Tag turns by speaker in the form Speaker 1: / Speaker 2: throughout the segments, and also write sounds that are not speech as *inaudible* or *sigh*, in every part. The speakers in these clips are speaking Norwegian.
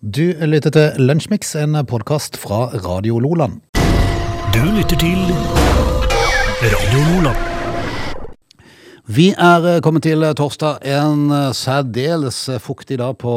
Speaker 1: Du lytter til Lunsjmix, en podkast fra Radio Loland.
Speaker 2: Du lytter til Radio Lola.
Speaker 1: Vi er eh, kommet til torsdag, en eh, særdeles fuktig dag på,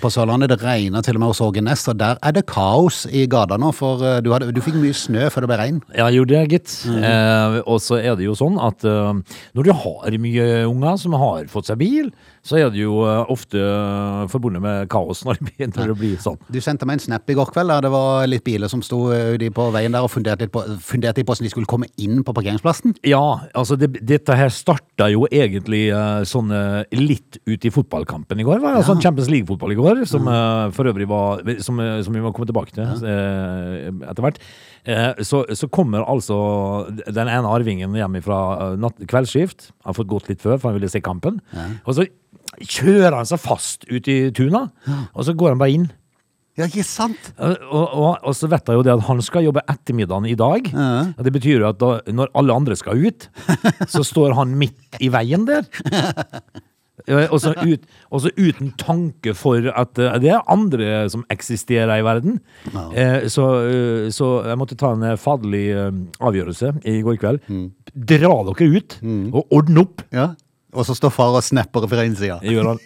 Speaker 1: på Sørlandet. Det regner til og med hos Ågenes, og der er det kaos i gata nå. For eh, du, hadde, du fikk mye snø før det ble regn.
Speaker 3: Ja, gjorde det, gitt. eh, og så er det jo sånn at eh, når du har mye unger som har fått seg bil, så er det jo eh, ofte eh, forbundet med kaos når det begynner å bli sånn.
Speaker 1: Du sendte meg en snap i går kveld der det var litt biler som sto eh, ute på veien der og funderte litt på, funderte litt på hvordan de skulle komme inn på parkeringsplassen.
Speaker 3: Ja, altså det, dette her starta jo egentlig eh, sånn eh, litt ut i fotballkampen i går. Var, altså Champions League-fotball i går, som eh, for øvrig var som, eh, som vi må komme tilbake til eh, etter hvert. Eh, så, så kommer altså den ene arvingen hjem fra eh, natt, kveldsskift. Han har fått gått litt før, for han ville se kampen. Og så kjører han seg fast ut i tuna, og så går han bare inn.
Speaker 1: Ja, ikke sant?
Speaker 3: Eh, Og, og, og så vet jeg jo det at han skal jobbe ettermiddagen i dag. Og Det betyr jo at da, når alle andre skal ut, så står han midt i veien der. Eh, Også, ut, også uten tanke for at eh, det er andre som eksisterer i verden. Eh, Så, eh, så jeg måtte ta en eh, faderlig eh, avgjørelse i går kveld. Dra dere ut og ordne opp!
Speaker 1: Ja. Og så står far og snapper fra innsida.
Speaker 3: Jeg gjør han.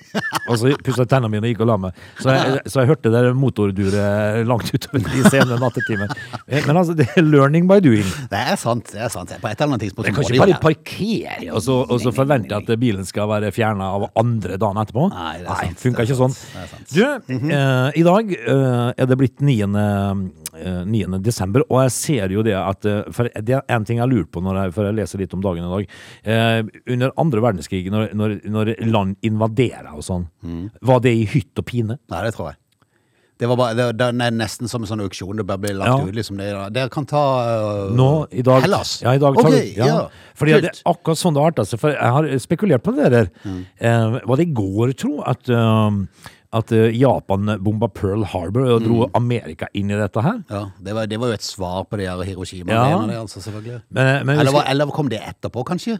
Speaker 3: Og så pussa jeg tennene mine og gikk og la meg. Så jeg, så jeg hørte det motorduret langt utover i sene nattetimen. Eh, Men altså, det er learning by doing.
Speaker 1: Det er sant. det er sant. På et eller annet tidspunkt
Speaker 3: Jeg
Speaker 1: så må de
Speaker 3: kan
Speaker 1: jo
Speaker 3: ikke bare
Speaker 1: det.
Speaker 3: parkere og så, og så forvente at bilen skal være fjerna av andre dagen etterpå.
Speaker 1: Nei, det er sant,
Speaker 3: funka
Speaker 1: det er
Speaker 3: ikke sånn.
Speaker 1: sant, Mhm.
Speaker 3: Du, eh, i dag eh, er det blitt 9. eh, 9. desember, og jeg ser jo det at eh, For det er én ting jeg lurer på når jeg, for jeg leser litt om dagen i dag. Eh, under andre verdenskrig, når, når, når land invaderer og sånn,
Speaker 1: Mhm.
Speaker 3: var det i hytt og pine?
Speaker 1: Nei, det tror jeg. Det, var bare, det, det er nesten som en sånn auksjon. Det bare blir lagt
Speaker 3: Ja.
Speaker 1: ut. liksom det, Dere kan ta øh,
Speaker 3: Nå, i dag
Speaker 1: Hellas.
Speaker 3: Ja, i dag tar
Speaker 1: Ok,
Speaker 3: du, ja. Fordi det er akkurat sånn det arter seg. For jeg har spekulert på det der.
Speaker 1: Mm.
Speaker 3: Eh, var det i går, tro, at, eh, at eh, Japan bomba Pearl Harbor og dro
Speaker 1: Mm.
Speaker 3: Amerika inn i dette her?
Speaker 1: Ja, det var, det var jo et svar på det her Hiroshima.
Speaker 3: Ja.
Speaker 1: mener Det, altså, selvfølgelig.
Speaker 3: Men, men,
Speaker 1: Eller, var, eller kom det etterpå, kanskje?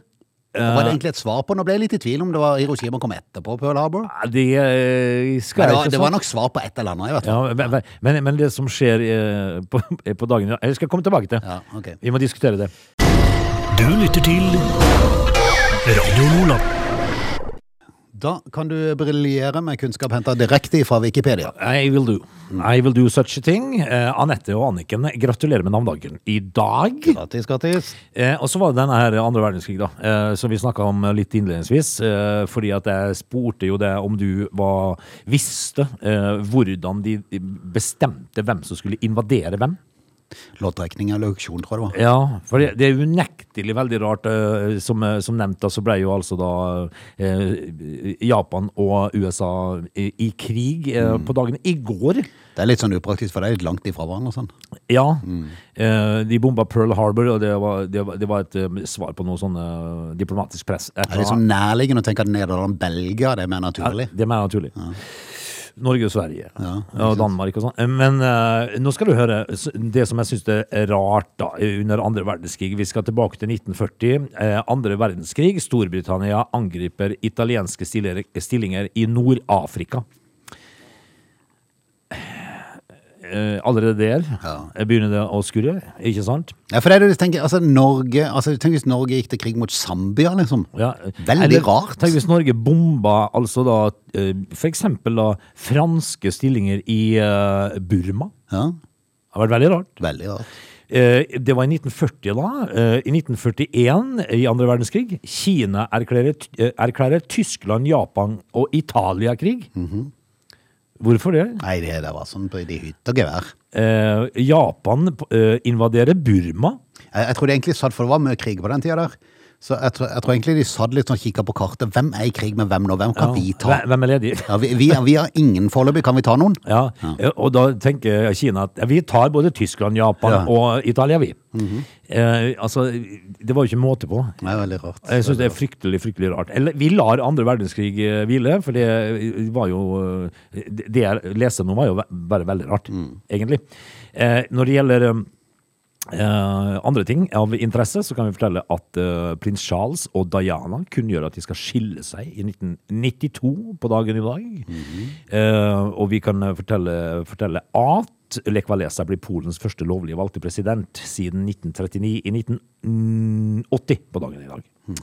Speaker 1: var det
Speaker 3: Eh.
Speaker 1: egentlig et svar på? Nå ble jeg litt i tvil om det var Hiroshima kom etterpå Pearl Harbor.
Speaker 3: Ja, det eh,
Speaker 1: Men det, var,
Speaker 3: skal jeg ikke
Speaker 1: det
Speaker 3: svare
Speaker 1: var nok svar på et eller annet. Jeg vet.
Speaker 3: Ja, men- men, men, men det som skjer eh, på, *laughs* på dagen i dag- Jeg skal komme tilbake til
Speaker 1: Ja, ok.
Speaker 3: Vi må diskutere det.
Speaker 2: Du lytter til Radio Lola.
Speaker 1: Da kan du briljere med kunnskap henta direkte fra Wikipedia.
Speaker 3: I will do.
Speaker 1: Mm.
Speaker 3: I will do such a thing. Eh, Anette og Anniken, gratulerer med navnedagen i dag.
Speaker 1: Gratis, gratis.
Speaker 3: Eh, og så var det denne her andre verdenskrig, da, eh, som vi snakka om litt innledningsvis. Eh, fordi at jeg spurte jo deg om du var, visste eh, hvordan de bestemte hvem som skulle invadere hvem.
Speaker 1: Loddtrekning eller auksjon, tror jeg det var.
Speaker 3: Ja, for det, det er unektelig veldig rart. eh, Som, eh, som nevnt, da, så ble jo altså da eh, Japan og USA i, i krig eh,
Speaker 1: Mm.
Speaker 3: på dagen i går.
Speaker 1: Det er litt sånn upraktisk, for det er litt langt ifra hverandre. og Sånn.
Speaker 3: Ja. Eh, de bomba Pearl Harbor, og det var, det var, det var et eh, svar på noe sånn eh, diplomatisk press.
Speaker 1: Det
Speaker 3: Et eller
Speaker 1: er litt
Speaker 3: annet.
Speaker 1: sånn nærliggende å tenke at Nederland Belgia det er mer naturlig.
Speaker 3: Ja, det er mer naturlig. Norge og Sverige og Danmark og sånn. Men eh, nå skal du høre s- det som jeg syns er rart da, under andre verdenskrig. Vi skal tilbake til 1940. Eh, andre verdenskrig. Storbritannia angriper italienske stiller- stillinger i Nord-Afrika. Eh, allerede der begynner det å skurre, ikke sant?
Speaker 1: Ja, for det er det du tenker, altså Norge, altså tenk hvis Norge gikk til krig mot Zambia, liksom.
Speaker 3: Ja.
Speaker 1: Veldig rart.
Speaker 3: Tenk hvis Norge bomba altså da eh, for eksempel da franske stillinger i eh, Burma.
Speaker 1: Ja,
Speaker 3: Det har vært veldig rart.
Speaker 1: veldig rart.
Speaker 3: Eh, Det var i 1940 da. Eh, I 1941, i andre verdenskrig, Kina erklærer, eh, erklærer Tyskland, Japan og Italia krig.
Speaker 1: Mhm.
Speaker 3: Hvorfor det?
Speaker 1: Nei, det, det var sånn på de hytter og gevær.
Speaker 3: Eh, Japan eh, invaderer Burma.
Speaker 1: Jeg, jeg tror de egentlig satt, for det var mye krig på den tida der. Så jeg, tror- jeg tror egentlig de satt litt sånn kikka på kartet. Hvem er i krig med hvem nå? Hvem kan
Speaker 3: Ja.
Speaker 1: vi ta?
Speaker 3: Hvem- Hvem er ledig?
Speaker 1: Ja, vi, vi, vi har ingen foreløpig. Kan vi ta noen?
Speaker 3: Ja. eh, og da tenker Kina at ja, vi tar både Tyskland, Japan
Speaker 1: Ja.
Speaker 3: og Italia, vi. eh, altså, det var jo ikke måte på.
Speaker 1: Det er veldig rart.
Speaker 3: Jeg syns det er fryktelig fryktelig rart. Eller, vi lar andre verdenskrig eh, hvile, for det eh, var jo eh, Det det jeg leste nå, var jo ve- bare veldig rart, egentlig. Eh, når det gjelder eh, Eh, andre ting av interesse så kan vi fortelle at eh, prins Charles og Diana kunngjør at de skal skille seg i 1992 på dagen i dag. Eh, og vi kan eh, fortelle, fortelle at Lech Walesa blir Polens første lovlige valgte president siden 1939 i 1980 på dagen i dag.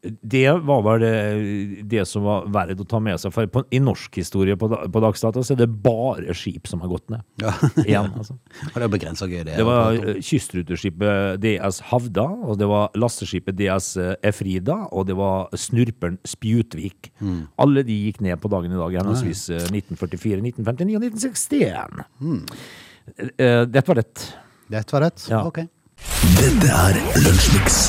Speaker 3: Det var vel det, det som var verdt å ta med seg. For på, i norsk historie på, da- på dagsdato så er det bare skip som har gått ned.
Speaker 1: Ja. *laughs*
Speaker 3: *laughs* Igjen, altså.
Speaker 1: Og det er begrensa gøy, det.
Speaker 3: Det var eh, kystruteskipet DS Havda, og det var lasteskipet DS Efrida, og det var snurperen Spjutvik. Alle de gikk ned på dagen i dag, henholdsvis eh, 1944, 1959 og 1961. Eh, Dette var rett.
Speaker 1: Dette var rett.
Speaker 3: Ja.
Speaker 1: Ok.
Speaker 2: Dette er Lunsjmix.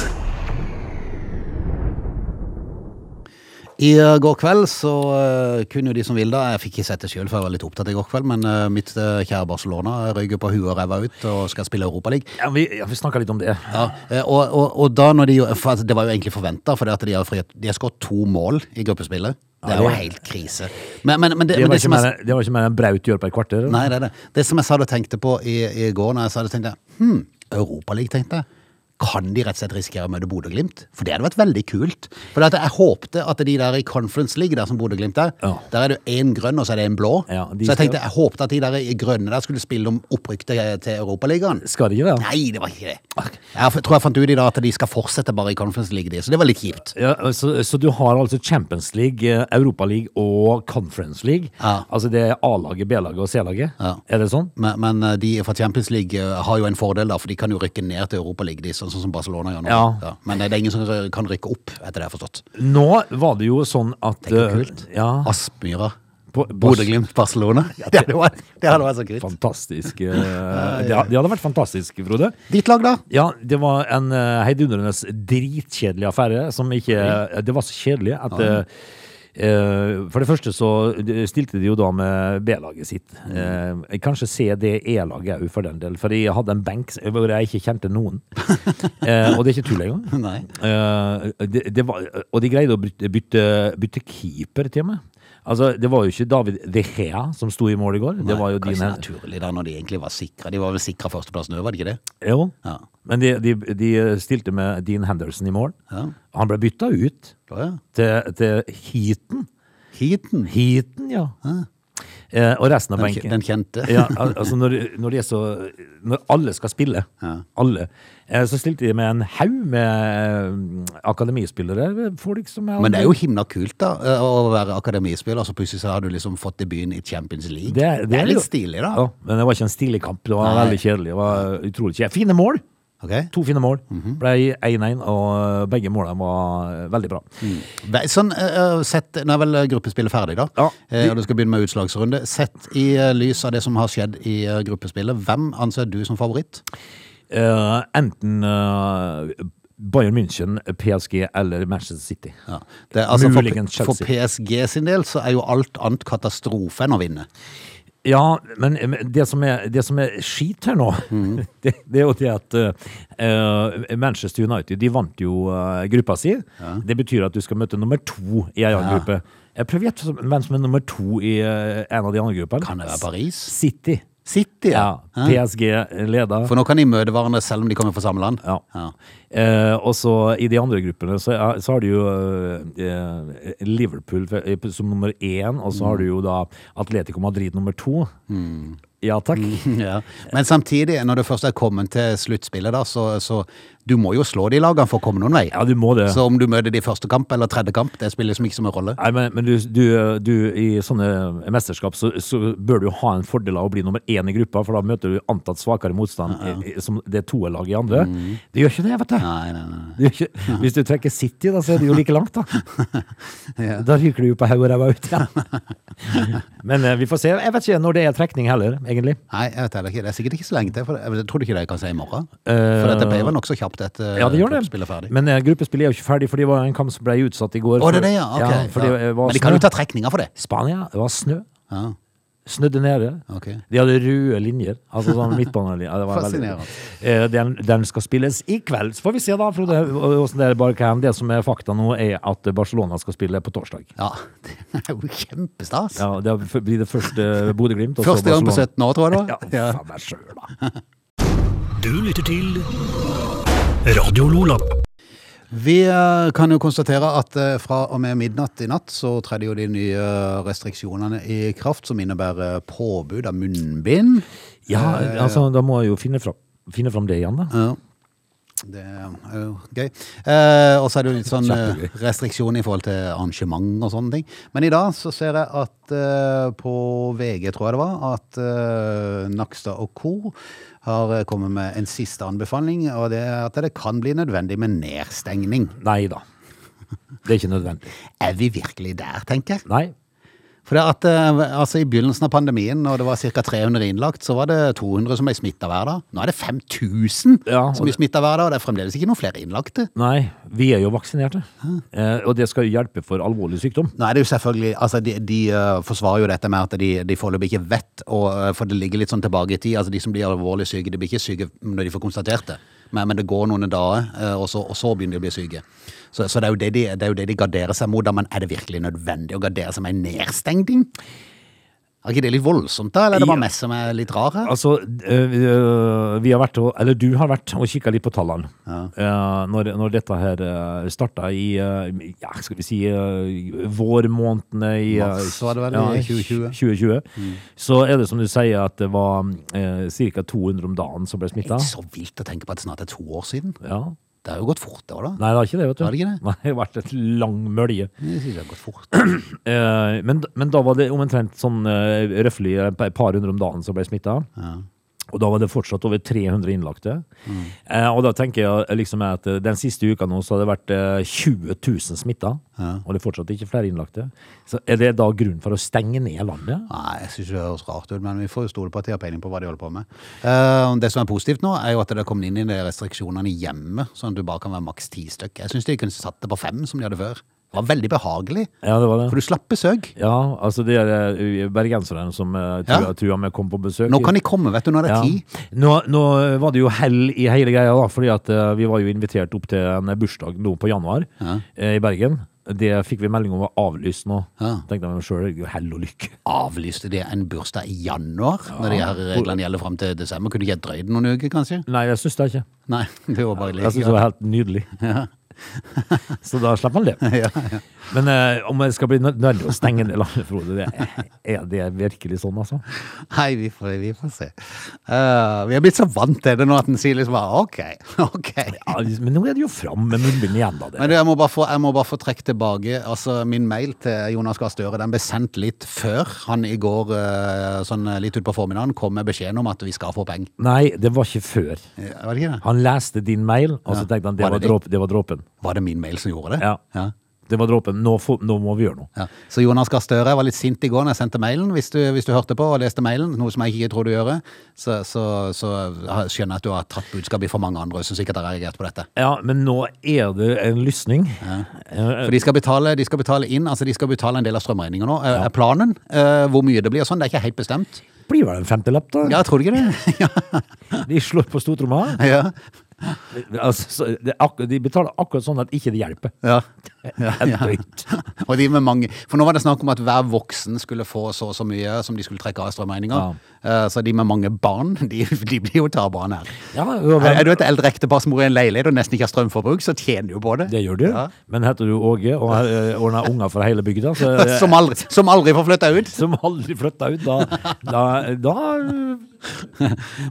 Speaker 1: I eh, går kveld så eh, kunne jo de som ville da, jeg fikk ikke sett det sjøl for jeg var litt opptatt i går kveld, men eh, mitt eh, kjære Barcelona røyker på huet og ræva ut og skal spille Europaligaen.
Speaker 3: Ja, vi, ja, vi snakka litt om det.
Speaker 1: Ja, eh, og, og, og da når de jo- for at Det var jo egentlig forventa, for de har, frihet- de har skåret to mål i gruppespillet. Det
Speaker 3: Ja,
Speaker 1: er jo
Speaker 3: det-
Speaker 1: helt krise. Men, men, men, det,
Speaker 3: Det
Speaker 1: men
Speaker 3: var,
Speaker 1: det
Speaker 3: ikke
Speaker 1: som jeg,
Speaker 3: mer, det var ikke mer enn Braut gjør på et kvarter. eller?
Speaker 1: Nei, det er det. Det som jeg sa du tenkte på i, i går, når jeg sa det, tenkte jeg hm, Europaligaen, tenkte jeg. Kan de rett og slett risikere å møte Bodø-Glimt? For det hadde vært veldig kult. For at jeg håpte at de der i Conference League, der som Bodø-Glimt er,
Speaker 3: Ja.
Speaker 1: der er det jo én grønn og så er det én blå.
Speaker 3: Ja, de
Speaker 1: så jeg
Speaker 3: skal-
Speaker 1: tenkte, jeg håpte at de der i grønne der skulle spille om opprykk til, til Europaligaen.
Speaker 3: Skal det ikke det?
Speaker 1: Nei, det var ikke det. Jeg f- tror jeg fant ut i dag at de skal fortsette bare i Conference League, de. Så det var litt kjipt.
Speaker 3: Ja, så, så du har altså Champions League, eh, Europa League og Conference League.
Speaker 1: Ja.
Speaker 3: Altså det er A-laget, B-laget og C-laget.
Speaker 1: Ja.
Speaker 3: Er det sånn?
Speaker 1: Men, men eh, de fra Champions League eh, har jo en fordel, da, for de kan jo rykke ned til Europaligaen, de, sånn sånn som Barcelona gjør nå.
Speaker 3: Ja.
Speaker 1: Men det er ingen som rø- kan rykke opp, etter det jeg har forstått.
Speaker 3: Nå var det jo sånn at
Speaker 1: Det er
Speaker 3: eh,
Speaker 1: kult.
Speaker 3: Ja,
Speaker 1: Aspmyra.
Speaker 3: På-
Speaker 1: Bodø-Glimt, Barcelona. *laughs* Det hadde vært, det hadde vært så kult. *laughs*
Speaker 3: fantastisk. eh, det, ha- det hadde vært fantastisk, Frode.
Speaker 1: Ditt lag, da?
Speaker 3: Ja, det var en eh, heidundrende dritkjedelig affære som ikke eh, Det var så kjedelig at eh, eh, For det første så de- stilte de jo da med B-laget sitt. Eh, kanskje CDE-laget òg, for den del. For jeg hadde en benk hvor jeg ikke kjente noen. Eh, og det er ikke tull engang.
Speaker 1: Nei.
Speaker 3: Eh, det, det var, og de greide å bytte, bytte, bytte keeper til meg. Altså, det var jo ikke David De Gea som sto i mål i går. det var jo
Speaker 1: Kanskje
Speaker 3: din
Speaker 1: naturlig, da, når de egentlig var sikra. De var vel sikra førsteplassen òg, var det ikke det?
Speaker 3: Jo.
Speaker 1: Ja.
Speaker 3: Men de, de, de stilte med Dean Henderson i mål.
Speaker 1: Ja.
Speaker 3: Han ble bytta ut
Speaker 1: Da, ja.
Speaker 3: til, til Heaton.
Speaker 1: Heaton.
Speaker 3: Heaton, ja. Eh, og resten av
Speaker 1: Den, kje-
Speaker 3: benken.
Speaker 1: den kjente.
Speaker 3: ja, al- altså når, når de er så Når alle skal spille, alle, eh, så stilte de med en haug med eh, akademispillere. Folk som er
Speaker 1: *laughs* Men det er jo himla kult, da, eh, å være akademispiller, så plutselig så har du liksom fått debuten i Champions League.
Speaker 3: Det er- det er
Speaker 1: litt
Speaker 3: jo-
Speaker 1: stilig, da.
Speaker 3: Ja, men det var ikke en stilig kamp. Det var
Speaker 1: Nei.
Speaker 3: veldig kjedelig. Det var utrolig kjedelig. Fine mål!
Speaker 1: Ok?
Speaker 3: To fine mål.
Speaker 1: Mhm.
Speaker 3: Ble 1-1, og begge målene var eh, veldig bra.
Speaker 1: Ve- Sånn, eh, eh, sett, Nå er vel eh, gruppespillet ferdig, da.
Speaker 3: Ja.
Speaker 1: Eh, og du skal begynne med utslagsrunde. Sett i eh, lys av det som har skjedd i eh, gruppespillet, hvem anser du som favoritt?
Speaker 3: Eh, enten eh, Bayern München, PSG eller Manchester City.
Speaker 1: Ja. Det, er altså, for,
Speaker 3: Muligens Chelsea.
Speaker 1: for PSG sin del så er jo alt annet katastrofe enn å vinne.
Speaker 3: Ja, men men det som er, det som er skit her nå,
Speaker 1: Mhm.
Speaker 3: *laughs* det, det er jo det at eh, Manchester United de vant jo eh, gruppa si. Det betyr at du skal møte nummer to i en annen gruppe. Jeg prøver å gjette som- hvem som er nummer to i eh, en av de andre gruppene.
Speaker 1: Kan det være Paris?
Speaker 3: City.
Speaker 1: City, ja.
Speaker 3: Ja. PSG leder.
Speaker 1: For nå kan de møte hverandre selv om de kommer fra samme land.
Speaker 3: Ja.
Speaker 1: Ja. *laughs*
Speaker 3: Eh, og så i de andre gruppene så, er- så har du jo eh, Liverpool f- som nummer én, og så har du jo da Atletico Madrid nummer to.
Speaker 1: Mm.
Speaker 3: Ja takk.
Speaker 1: Ja. Men samtidig, når du først er kommet til sluttspillet, da, så, så du må jo slå de lagene for å komme noen vei.
Speaker 3: Ja, du må det.
Speaker 1: Så om du møter de i første kamp eller tredje kamp, det spiller liksom ikke som en rolle.
Speaker 3: Nei, men, men du, du, du, i sånne mesterskap så, så bør du ha en fordel av å bli nummer én i gruppa, for da møter du antatt svakere motstand i- i- som det toerlaget i andre.
Speaker 1: Mm.
Speaker 3: Det gjør ikke det, vet du.
Speaker 1: Nei, nei, nei.
Speaker 3: Det gjør ikke, hvis du trekker City, da, så er det jo like
Speaker 1: *laughs*
Speaker 3: langt, da. Da ryker du jo på haug og ræva ut igjen. Men eh, vi får se. Jeg vet ikke når det er trekning heller, egentlig.
Speaker 1: Nei, jeg vet heller ikke. Det er sikkert ikke så lenge til. For jeg tror du ikke det kan si i morgen?
Speaker 3: Eh,
Speaker 1: for dette ble vel nokså kjapt etter
Speaker 3: Ja, det gjør
Speaker 1: spillet ferdig.
Speaker 3: det. Men eh, gruppespillet er jo ikke ferdig, for det var en kamp som ble utsatt i går.
Speaker 1: Å,
Speaker 3: for-
Speaker 1: det er det, ja. Ok.
Speaker 3: fordi eh,
Speaker 1: ja.
Speaker 3: det var
Speaker 1: Men de kan
Speaker 3: snø.
Speaker 1: jo ta trekninger for det.
Speaker 3: Spania, det var snø.
Speaker 1: Ja,
Speaker 3: Snødde nede.
Speaker 1: ok.
Speaker 3: De hadde røde linjer. Altså sånn midtbanelinjer. Ja, det var veldig-
Speaker 1: Fascinerende.
Speaker 3: Eh, Den, den skal spilles i kveld. Så får vi se, da, Frode, hvordan det bare kan. Det som er fakta nå, er at Barcelona skal spille på torsdag.
Speaker 1: Ja, *laughs* det er jo kjempestas.
Speaker 3: Ja, Det blir det første Bodø-Glimt. og så
Speaker 1: Første gang på
Speaker 3: *laughs* Barcelona.
Speaker 1: 17 år, tror jeg det var.
Speaker 3: Ja, faen meg sjøl, da.
Speaker 2: Du lytter til Radio Lola.
Speaker 1: Vi eh, kan jo konstatere at eh, fra og med midnatt i natt så tredde jo de nye restriksjonene i kraft, som innebærer påbud av munnbind.
Speaker 3: Ja, altså, da må jeg jo finne fram, finne fram det igjen, da.
Speaker 1: Ja. Det er jo gøy. Eh, og så er det jo litt sånn eh, restriksjon i forhold til arrangement og sånne ting. Men i dag så ser jeg at eh, på VG, tror jeg det var, at eh, Nakstad og co. har eh, kommet med en siste anbefaling, og det er at det kan bli nødvendig med nedstengning.
Speaker 3: Nei da. Det er ikke nødvendig.
Speaker 1: Er vi virkelig der, tenker jeg?
Speaker 3: Nei.
Speaker 1: For det at, eh, altså I begynnelsen av pandemien, når det var ca. 300 innlagt, så var det 200 som ble smitta hver dag. Nå er det 5000
Speaker 3: Ja, og
Speaker 1: som blir smitta hver dag, og det er fremdeles ikke noen flere innlagte.
Speaker 3: Nei, vi er jo vaksinerte. Eh, og det skal jo hjelpe for alvorlig sykdom.
Speaker 1: Nå er det jo selvfølgelig, altså De, de eh, forsvarer jo dette med at de, de foreløpig ikke vet, og, eh, for det ligger litt sånn tilbake i tid. altså De som blir alvorlig syke, de blir ikke syke når de får konstatert det, men, men det går noen dager, eh, og så, og så begynner de å bli syke. Så, så det, er jo det, de, det er jo det de garderer seg mot. da, Men er det virkelig nødvendig å gardere seg med en nedstengning? Er ikke det litt voldsomt, da? Eller er det bare
Speaker 3: Ja.
Speaker 1: meg som er litt rar her?
Speaker 3: Altså, eh, vi, eh, vi har vært, og, eller du har vært og kikka litt på tallene. Eh, når, når dette her uh, starta i eh, ja, skal vi si eh, vårmånedene i eh,
Speaker 1: Mars var det vel, i Mm. 2020.
Speaker 3: 2020, Så er det som du sier at det var uh, ca. 200 om dagen som ble smitta.
Speaker 1: Så vilt å tenke på at det snart er to år siden.
Speaker 3: Ja.
Speaker 1: Det har jo gått fort, det òg, da.
Speaker 3: Nei, det har ikke det, vet du.
Speaker 1: Har det ikke det?
Speaker 3: Nei, det har vært et lang mølje.
Speaker 1: Jeg synes det har gått fort.
Speaker 3: Eh, men, men da var det omtrent sånn uh, røffelig et par hundre om dagen som ble smitta. Og da var det fortsatt over 300 innlagte.
Speaker 1: Mm.
Speaker 3: Eh, og da tenker jeg liksom at eh, den siste uka nå så har det vært eh, 20 000 smitta. Og det er fortsatt ikke flere innlagte. Så er det da grunn for å stenge ned landet?
Speaker 1: Nei, jeg synes det høres rart ut, men vi får jo stole på at de har peiling på hva de holder på med. Eh, det som er positivt nå, er jo at det har kommet inn i de restriksjonene hjemme, sånn at du bare kan være maks ti stykk. Jeg synes de kunne satt det på fem, som de hadde før. Det var veldig behagelig,
Speaker 3: Ja, det var det.
Speaker 1: for du slapp besøk.
Speaker 3: Ja, altså det er eh, bergenserne som uh, trua,
Speaker 1: Ja.
Speaker 3: trua med å komme på besøk.
Speaker 1: Nå kan de komme, vet du, når det er ti.
Speaker 3: Nå, nå var det jo hell i hele greia, da, fordi at eh, vi var jo invitert opp til en bursdag nå på januar eh, i Bergen. Det fikk vi melding om var avlyst nå.
Speaker 1: Ja.
Speaker 3: Tenkte jeg meg sjøl, hell og lykke.
Speaker 1: Avlyste de en bursdag i januar, når de her reglene gjelder frem til desember? Kunne de ikke drøyd noen uker, kanskje?
Speaker 3: Nei, jeg syns det ikke.
Speaker 1: Nei, *laughs* det var bare
Speaker 3: Jeg
Speaker 1: litt.
Speaker 3: syns det var helt nydelig. *laughs* Så da slipper man det.
Speaker 1: *laughs*
Speaker 3: Men eh, om det skal bli nød- nødvendig å stenge det landet, Frode, det, er det virkelig sånn, altså?
Speaker 1: Nei, vi får, vi får se. Eh, vi har blitt så vant til det nå at den sier liksom bare, ok, *laughs* ok.
Speaker 3: Ja, men nå er det jo fram med munnbind igjen, da. Det.
Speaker 1: Men du, jeg må bare få, jeg må bare få trekke tilbake. Altså, min mail til Jonas Gahr Støre den ble sendt litt før han i går eh, sånn eh, litt utpå formiddagen kom med beskjeden om at vi skal få penger.
Speaker 3: Nei, det var ikke før.
Speaker 1: Eh, Var det ikke det?
Speaker 3: Han leste din mail, og så tenkte han det
Speaker 1: Var
Speaker 3: var,
Speaker 1: det det?
Speaker 3: dråp, det var dråpen.
Speaker 1: Var det min mail som gjorde det?
Speaker 3: Ja. Det var dråpen. Nå, får- nå må vi gjøre noe.
Speaker 1: Ja. Så Jonas Gahr Støre var litt sint i går når jeg sendte mailen, hvis du, hvis du hørte på og leste mailen, noe som jeg ikke tror du gjør, så, så, så har- skjønner jeg at du har tatt budskapet fra mange andre som sikkert har reagert på dette.
Speaker 3: Ja, men nå er det en lysning. Eh,
Speaker 1: For de skal betale, de skal betale inn, altså de skal betale en del av strømregninga nå. Eh, Er planen eh, hvor mye det blir og sånn, det er ikke helt bestemt.
Speaker 3: Det blir vel en femtelapp, da?
Speaker 1: Ja, tror du ikke det?
Speaker 3: De slår på stortromma.
Speaker 1: *laughs* ja.
Speaker 3: Altså, så det, er akkur- de betaler akkurat sånn at ikke det hjelper. Eh,
Speaker 1: Ja.
Speaker 3: Helt drøyt.
Speaker 1: *laughs* Og de med mange For nå var det snakk om at hver voksen skulle få så og så mye som de skulle trekke av i strømregninga. Eh, Så de med mange barn, *laughs* de, de blir jo taperne her.
Speaker 3: Ja,
Speaker 1: Er, er du et eldre ektepar som bor i en leilighet og nesten ikke har strømforbruk, så tjener du jo på det.
Speaker 3: Det gjør du.
Speaker 1: Ja.
Speaker 3: Men heter du Åge og har eh, ordnet unger for hele bygda, så,
Speaker 1: *laughs*
Speaker 3: eh,
Speaker 1: Som aldri, som aldri får flytta ut.
Speaker 3: som aldri flytta ut, da, da, da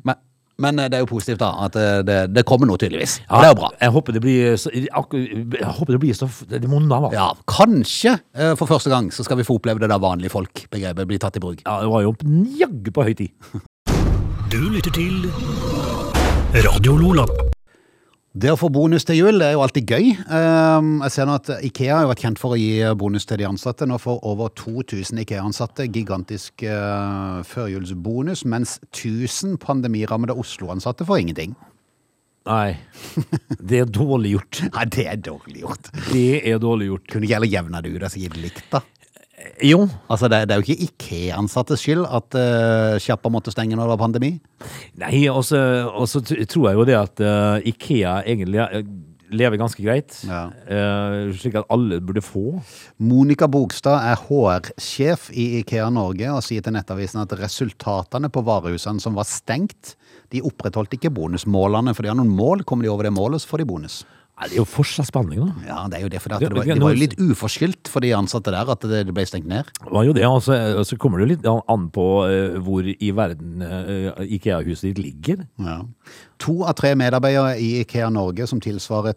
Speaker 1: Men, men eh, det er jo positivt, da. At eh, det, det kommer noe, tydeligvis. Og det er jo bra.
Speaker 3: Jeg håper det blir så, akkur- jeg håper det blir så Det er måneder, da.
Speaker 1: Ja, kanskje eh, for første gang så skal vi få oppleve det der vanlige folk-begrepet blir tatt i bruk.
Speaker 3: Ja, det var jo jaggu på høy tid.
Speaker 2: Du lytter til Radio Lola.
Speaker 1: Det å få bonus til jul det er jo alltid gøy. Ehm, Jeg ser nå at Ikea har jo vært kjent for å gi bonus til de ansatte. Nå får over 2000 Ikea-ansatte gigantisk eh, førjulsbonus, mens 1000 pandemirammede Oslo-ansatte får ingenting.
Speaker 3: Nei. Det er dårlig gjort.
Speaker 1: Nei, det er dårlig gjort.
Speaker 3: Det er dårlig gjort.
Speaker 1: Kunne ikke heller jevna det ut, altså gitt likt, da.
Speaker 3: Jo,
Speaker 1: Altså, det, det er jo ikke Ikea-ansattes skyld at uh, sjappa måtte stenge når det var pandemi.
Speaker 3: altså, Nei, og så og så tr- tror jeg jo det at eh, Ikea egentlig er- lever ganske greit,
Speaker 1: Ja.
Speaker 3: eh, slik at alle burde få.
Speaker 1: Monica Bogstad er HR-sjef i Ikea Norge og sier til Nettavisen at resultatene på varehusene som var stengt, de opprettholdt ikke bonusmålene, for de har noen mål. Kommer de over det målet, så får de bonus.
Speaker 3: Nei, det er jo forskjellsbehandling, da.
Speaker 1: Ja, det er jo det, for det,
Speaker 3: Ja,
Speaker 1: at det, var,
Speaker 3: men-
Speaker 1: det var jo litt uforskyldt for de ansatte der at det det ble stengt ned.
Speaker 3: Det var jo det, altså, og så kommer det jo litt an på eh, hvor i verden eh, IKEA-huset ditt ligger.
Speaker 1: Ja. To av tre medarbeidere i Ikea Norge, som tilsvarer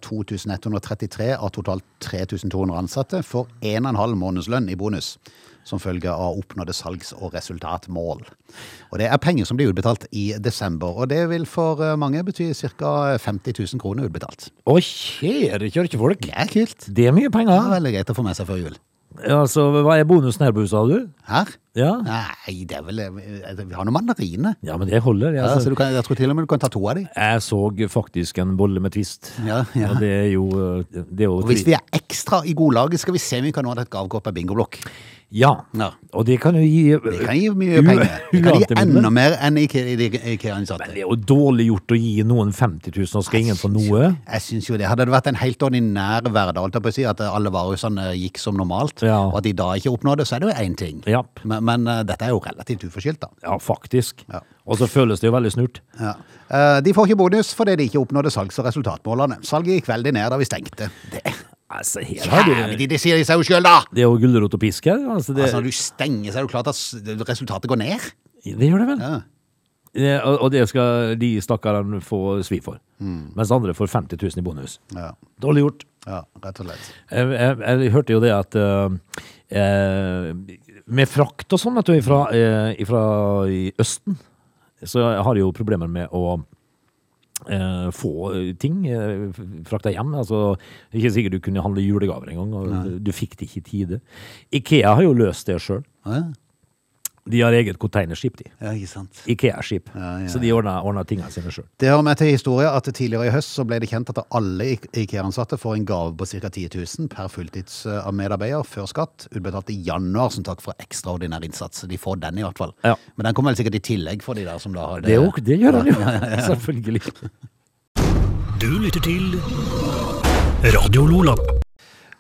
Speaker 1: 2133 av totalt 3200 ansatte, får 1,5 månedslønn i bonus som følge av oppnådde salgs- og resultatmål. Og Det er penger som blir utbetalt i desember, og det vil for eh, mange bety ca. 50 000 kroner utbetalt.
Speaker 3: Å, kjære kjørkefolk!
Speaker 1: Det er kult.
Speaker 3: Det er mye
Speaker 1: Det
Speaker 3: penger.
Speaker 1: er veldig greit å få med seg før jul.
Speaker 3: Altså, hva er bonusen her på huset, har du?
Speaker 1: Her?
Speaker 3: Ja.
Speaker 1: Nei, det er vel eh, Vi har noen mandariner.
Speaker 3: ja, men det holder.
Speaker 1: Ja, så
Speaker 3: Altså.
Speaker 1: du kan, jeg tror til og med du kan ta to av dem.
Speaker 3: Jeg så faktisk en bolle med twist.
Speaker 1: Ja, ja.
Speaker 3: Og det er jo, eh, det er jo
Speaker 1: Og hvis vi er ekstra i godlaget, skal vi se om vi kan nå et gavekort på bingoblokk.
Speaker 3: Ja.
Speaker 1: Ja.
Speaker 3: Og det kan jo gi
Speaker 1: Det kan gi mye penger. Det kan gi enda mer enn Ike- de- IKEA-ansatte.
Speaker 3: Det er jo dårlig gjort å gi noen 50 000, og skal ingen få noe.
Speaker 1: Jeg synes jo det. Hadde det vært en helt ordinær hverdag, holdt jeg på å si, at alle varehusene gikk som normalt,
Speaker 3: Ja.
Speaker 1: og at de da ikke oppnådde, så er det jo én ting.
Speaker 3: Ja,
Speaker 1: Men, men eh, dette er jo relativt uforskyldt, da.
Speaker 3: ja faktisk.
Speaker 1: Ja.
Speaker 3: Og så føles det jo veldig snurt.
Speaker 1: Ja. Eh, De får ikke bonus fordi de ikke oppnådde salgs- og resultatmålene. Salget gikk veldig ned da vi stengte. Det
Speaker 3: Altså, her har
Speaker 1: Jævlig,
Speaker 3: du
Speaker 1: de- de sier de seg jo sjøl, da!
Speaker 3: Det er jo gulrot og pisk her. Altså, det,
Speaker 1: Altså, når du stenger, så er det jo klart at s- resultatet går ned.
Speaker 3: det gjør det vel.
Speaker 1: Ja.
Speaker 3: Det- og- Og det skal de stakkarene få svi for.
Speaker 1: Mm.
Speaker 3: Mens andre får 50 000 i bonus.
Speaker 1: Ja.
Speaker 3: Dårlig gjort.
Speaker 1: ja, rett og slett.
Speaker 3: Jeg, jeg, jeg hørte jo det at eh, eh, med frakt og sånn, vet du, ifra, eh, ifra i Østen, så har de jo problemer med å eh, få eh, ting eh, f- frakta hjem. Altså, det er ikke sikkert du kunne handle julegaver engang, og du fikk det ikke i tide. Ikea har jo løst det sjøl.
Speaker 1: Ja,
Speaker 3: De har eget containerskip, de.
Speaker 1: ja ikke sant.
Speaker 3: Ikea-skip.
Speaker 1: Ja, ja,
Speaker 3: Så de ordner, ordner tingene sine sjøl.
Speaker 1: Det har med til historie at tidligere i høst så ble det kjent at alle I- IKEA-ansatte får en gave på ca. 10 000 per fulltidsmedarbeider før skatt, utbetalt i januar som takk for ekstraordinær innsats. De får den i hvert fall.
Speaker 3: Ja.
Speaker 1: Men den kommer vel sikkert i tillegg for de der som da har
Speaker 3: Det, er jo- det gjør han jo, *laughs* selvfølgelig.
Speaker 2: Du lytter til Radio Lola.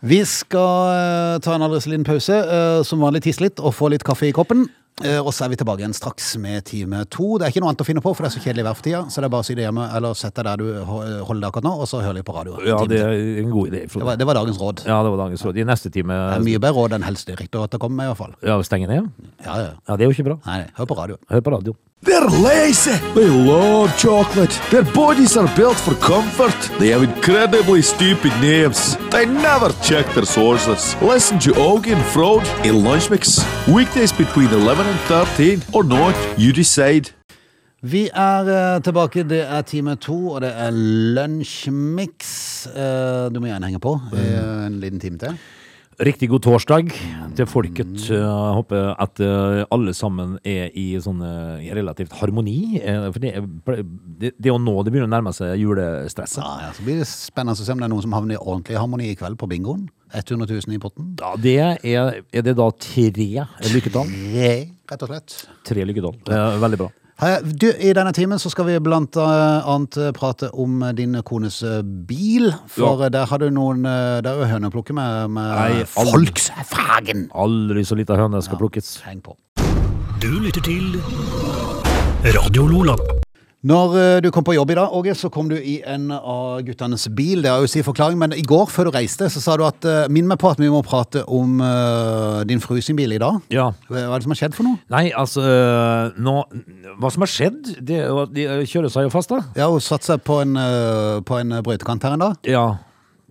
Speaker 1: Vi skal eh, ta en aldri så liten pause, eh, som vanlig tisse litt og få litt kaffe i koppen. Eh, Og så er vi tilbake igjen straks med time to. Det er ikke noe annet å finne på, for det er så kjedelig vær for tida. Så det er bare å si det hjemme, eller sett deg der du ho- holder deg akkurat nå, og så hører vi på radio.
Speaker 3: Ja, det er en god idé.
Speaker 1: Det
Speaker 3: Frode.
Speaker 1: var, det var dagens råd.
Speaker 3: Ja, det var dagens råd. I neste time
Speaker 1: Det er mye bedre råd enn Helsedirektoratet kommer med, i hvert fall.
Speaker 3: ja, stenge ned.
Speaker 1: Ja, ja.
Speaker 3: Ja, det er jo ikke bra.
Speaker 1: Nei, hør på radio.
Speaker 3: Hør på radio.
Speaker 4: They're lazy. They love chocolate. Their bodies are built for comfort. They have incredibly stupid names. They never check their sources. Listen to Augie and Frode in Lunch Mix. Weekdays between 11 and 13 or not, you decide.
Speaker 1: Vi er eh, tilbake. Det er time to, og det er lunsjmix. Eh, du må gjerne henge på eh, en liten time til.
Speaker 3: Riktig god torsdag til folket. Jeg håper at eh, alle sammen er i sånn eh, relativt harmoni. eh, For det, er- det, det er jo nå det begynner å nærme seg julestresset.
Speaker 1: Ja, ja, så blir det spennende å se om det er noen som havner i ordentlig harmoni i kveld på bingoen. 100 000 i potten.
Speaker 3: Ja, det er, er det da tre lykketall?
Speaker 1: Tre, rett og slett.
Speaker 3: Tre lykketall. Eh, Veldig bra.
Speaker 1: Hei, Du, I denne timen så skal vi blant eh, annet eh, prate om eh, din kones eh, bil. For eh, der har du noen eh, Der er jo høneplukke med, med
Speaker 3: Nei, all-
Speaker 1: Volkswagen!
Speaker 3: Aldri så lita høne skal plukkes.
Speaker 1: Heng på.
Speaker 2: Du lytter til Radio Lola.
Speaker 1: Når eh, du kom på jobb i dag, Åge, så kom du i en av guttenes bil. Det har jo sin forklaring, men i går før du reiste, så sa du at eh, minn meg på at vi må prate om eh, din fru sin bil i dag.
Speaker 3: Ja.
Speaker 1: Hva er det som har skjedd for noe?
Speaker 3: Nei, altså nå, Hva som har skjedd? Det, er jo at de kjører seg jo fast, da.
Speaker 1: Ja, hun satte seg på en, eh, på en brøytekant her en dag.
Speaker 3: Ja.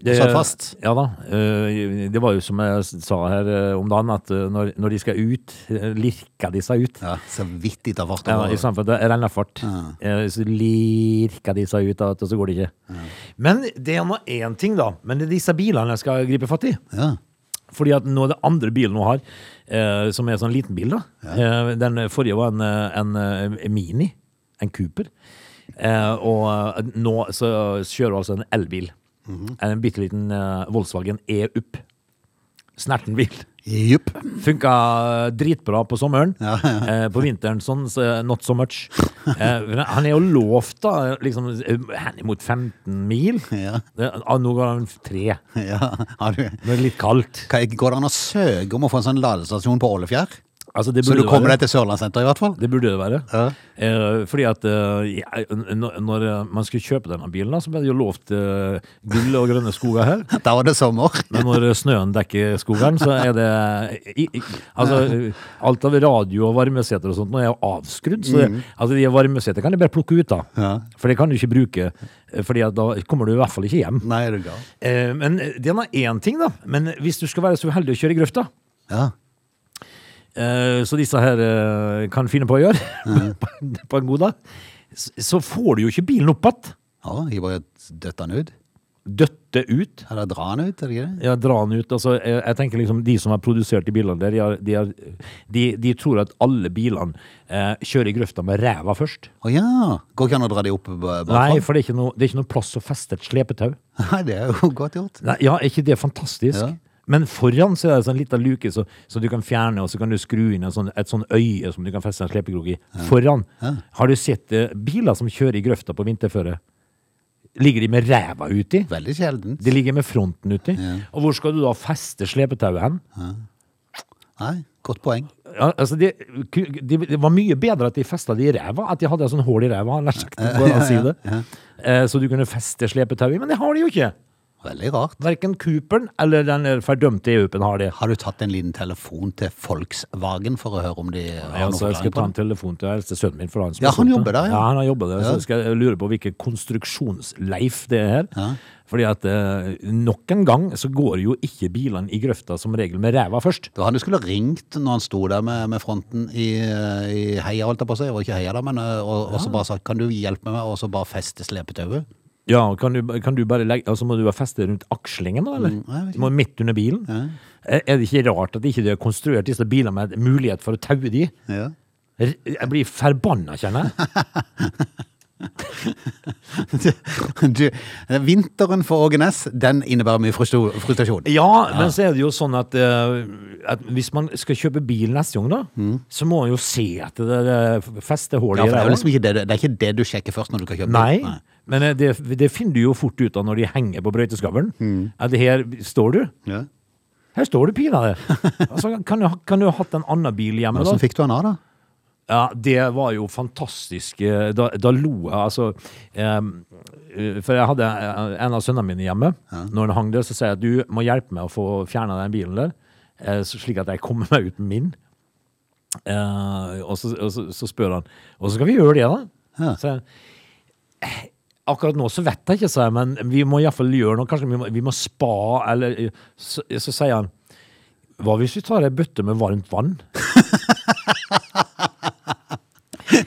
Speaker 3: Det,
Speaker 1: satt fast?
Speaker 3: Ja da. Eh, Det var jo som jeg sa her eh, om dagen, at eh, når, når de skal ut, eh, lirker de seg ut.
Speaker 1: Ja, så vidt de tar fart
Speaker 3: Ja, I
Speaker 1: over.
Speaker 3: stedet for at det renner fart. Eh, Så lirker de seg ut, da, og så går det ikke. Men det er nå én ting, da. Men det er disse bilene jeg skal gripe fatt i.
Speaker 1: Ja.
Speaker 3: Fordi at nå er det andre bilen hun har, eh, som er sånn liten bil, da. Eh, den forrige var en, eh, en, eh, Mini. En Cooper. Eh, og eh, nå
Speaker 1: Mhm.
Speaker 3: så kjører hun altså en elbil. En bitte liten eh, Volkswagen E-Up. Snertenbil.
Speaker 1: Jupp.
Speaker 3: *laughs* Funka eh, dritbra på sommeren.
Speaker 1: Ja, *laughs* ja.
Speaker 3: Eh, på vinteren sånn, så not so much. Eh, men han er jo lovt, da, liksom eh, henimot 15 mil.
Speaker 1: Ja.
Speaker 3: Det, ah, nå går han tre.
Speaker 1: *laughs* Ja, har du
Speaker 3: Det er litt kaldt.
Speaker 1: Hva- Går det an å søke om å få en sånn ladestasjon på Ålefjær?
Speaker 3: Altså, det
Speaker 1: Så
Speaker 3: burde
Speaker 1: du kommer
Speaker 3: være-
Speaker 1: deg til Sørlandssenteret, i hvert fall?
Speaker 3: Det burde det være.
Speaker 1: Ja.
Speaker 3: Eh, fordi at eh, ja, n- n- når eh, man skulle kjøpe denne bilen, da, så ble det jo lovt eh, gull og grønne
Speaker 1: *laughs*
Speaker 3: skoger her.
Speaker 1: Da var det sommer.
Speaker 3: Men når eh, snøen dekker skogen, så er det eh, i, i, Altså, alt av radio og varmeseter og sånt nå er jo avskrudd, så det, altså, de varmeseter kan de bare plukke ut, da.
Speaker 1: Mm. Ja.
Speaker 3: For det kan du ikke bruke, eh, Fordi at da kommer du i hvert fall ikke hjem.
Speaker 1: Nei, er du gal.
Speaker 3: Eh, men det er én ting, da. Men hvis du skal være så uheldig å kjøre i grøfta,
Speaker 1: Ja.
Speaker 3: eh, så disse her eh, kan finne på å gjøre, *laughs* på- på en god dag, s- så får du jo ikke bilen opp igjen.
Speaker 1: ja jeg bare døtte han ut.
Speaker 3: Døtte ut.
Speaker 1: Eller dra han ut, er det ikke det?
Speaker 3: Ja, dra den ut. Altså, jeg, jeg tenker liksom De som har produsert de bilene der, de, har, de, har, de, de tror at alle bilene eh, kjører i grøfta med ræva først.
Speaker 1: Å ja! Går ikke an å dra de opp b- bakfra?
Speaker 3: Nei, for det er ikke noe, det er ikke noe plass å feste et slepetau.
Speaker 1: Nei, det er jo godt gjort.
Speaker 3: Nei, ja, er ikke det fantastisk?
Speaker 1: Ja.
Speaker 3: Men foran så er det en sånn liten luke så, så du kan fjerne, og så kan du skru inn en sånn, et sånn øye som du kan feste en slepekrok i. Foran. Har du sett eh, biler som kjører i grøfta på vinterføre? Ligger de med ræva uti?
Speaker 1: Veldig sjelden.
Speaker 3: De ligger med fronten uti.
Speaker 1: Ja.
Speaker 3: Og hvor skal du da feste slepetauet hen?
Speaker 1: Nei, godt poeng.
Speaker 3: Ja, altså det, de, det var mye bedre at de festa det i ræva, at de hadde sånn hull i ræva. nær sagt, går det an å si det. Eh, Så du kunne feste slepetauet i, men det har de jo ikke.
Speaker 1: Veldig rart.
Speaker 3: Verken Cooperen eller den der fordømte EU-en har det.
Speaker 1: Har du tatt en liten telefon til Volkswagen for å høre om de har noe
Speaker 3: Altså, jeg skal
Speaker 1: forklaring
Speaker 3: ta
Speaker 1: på
Speaker 3: en
Speaker 1: det?
Speaker 3: telefon til eldste sønnen min. For han som
Speaker 1: Ja,
Speaker 3: har solgt
Speaker 1: han
Speaker 3: det.
Speaker 1: jobber der, ja.
Speaker 3: ja. han har jobbet der,
Speaker 1: Ja.
Speaker 3: Så skal jeg lure på hvilken konstruksjonsleif det er her.
Speaker 1: Ja.
Speaker 3: Fordi at eh, nok en gang så går jo ikke bilene i grøfta som regel med ræva først.
Speaker 1: Det var han du skulle ringt når han sto der med, med fronten i, eh, i heia, holdt jeg på å si. Og ikke heia, da, men eh, og, og så bare sagt 'kan du hjelpe meg med å så bare feste slepetauet'?
Speaker 3: Ja, kan du, kan du bare legge, altså må du bare feste rundt akslingen da, eller?
Speaker 1: Mm, jeg vet
Speaker 3: du må midt under bilen. Er er det ikke rart at ikke de har konstruert disse bilene med mulighet for å taue de?
Speaker 1: Ja.
Speaker 3: R- Jeg blir forbanna, kjenner jeg.
Speaker 1: *laughs* du, eh, vinteren for Åge Næss, den innebærer mye frustru- frustrasjon.
Speaker 3: Ja, men så er det jo sånn at, eh, at hvis man skal kjøpe bil neste gang, da, så må man jo se etter det, det
Speaker 1: Mm. Ja,
Speaker 3: festehullet
Speaker 1: for det, er jo
Speaker 3: ræva.
Speaker 1: liksom ikke det, du- det er ikke det du sjekker først når du skal kjøpe
Speaker 3: Nei,
Speaker 1: bil.
Speaker 3: men eh, det, det finner du jo fort ut av når de henger på brøyteskavlen.
Speaker 1: Mm.
Speaker 3: At her står du.
Speaker 1: Ja.
Speaker 3: Her står du,
Speaker 1: *laughs*
Speaker 3: pinadø. Altså, kan, du ha- kan du ha hatt en annen bil hjemme,
Speaker 1: Men
Speaker 3: da?
Speaker 1: Hvordan fikk du han av, da?
Speaker 3: Ja, det var jo fantastisk. Eh, Da, da lo jeg, altså. em, eh, for jeg hadde eh, en av sønnene mine hjemme. Når han hang der, så sier jeg at du må hjelpe meg å få fjerna den bilen der, eh, så- slik at jeg kommer meg ut med min. Eh, og så, og så, så spør han Og så skal vi gjøre det, da.
Speaker 1: Ja.
Speaker 3: Så jeg, eh, akkurat nå så vet jeg ikke, sa jeg, men vi må iallfall gjøre noe. Kanskje vi må, vi må spa, eller eh, Så, så sier han Hva hvis vi tar ei bøtte med varmt vann?
Speaker 1: *laughs*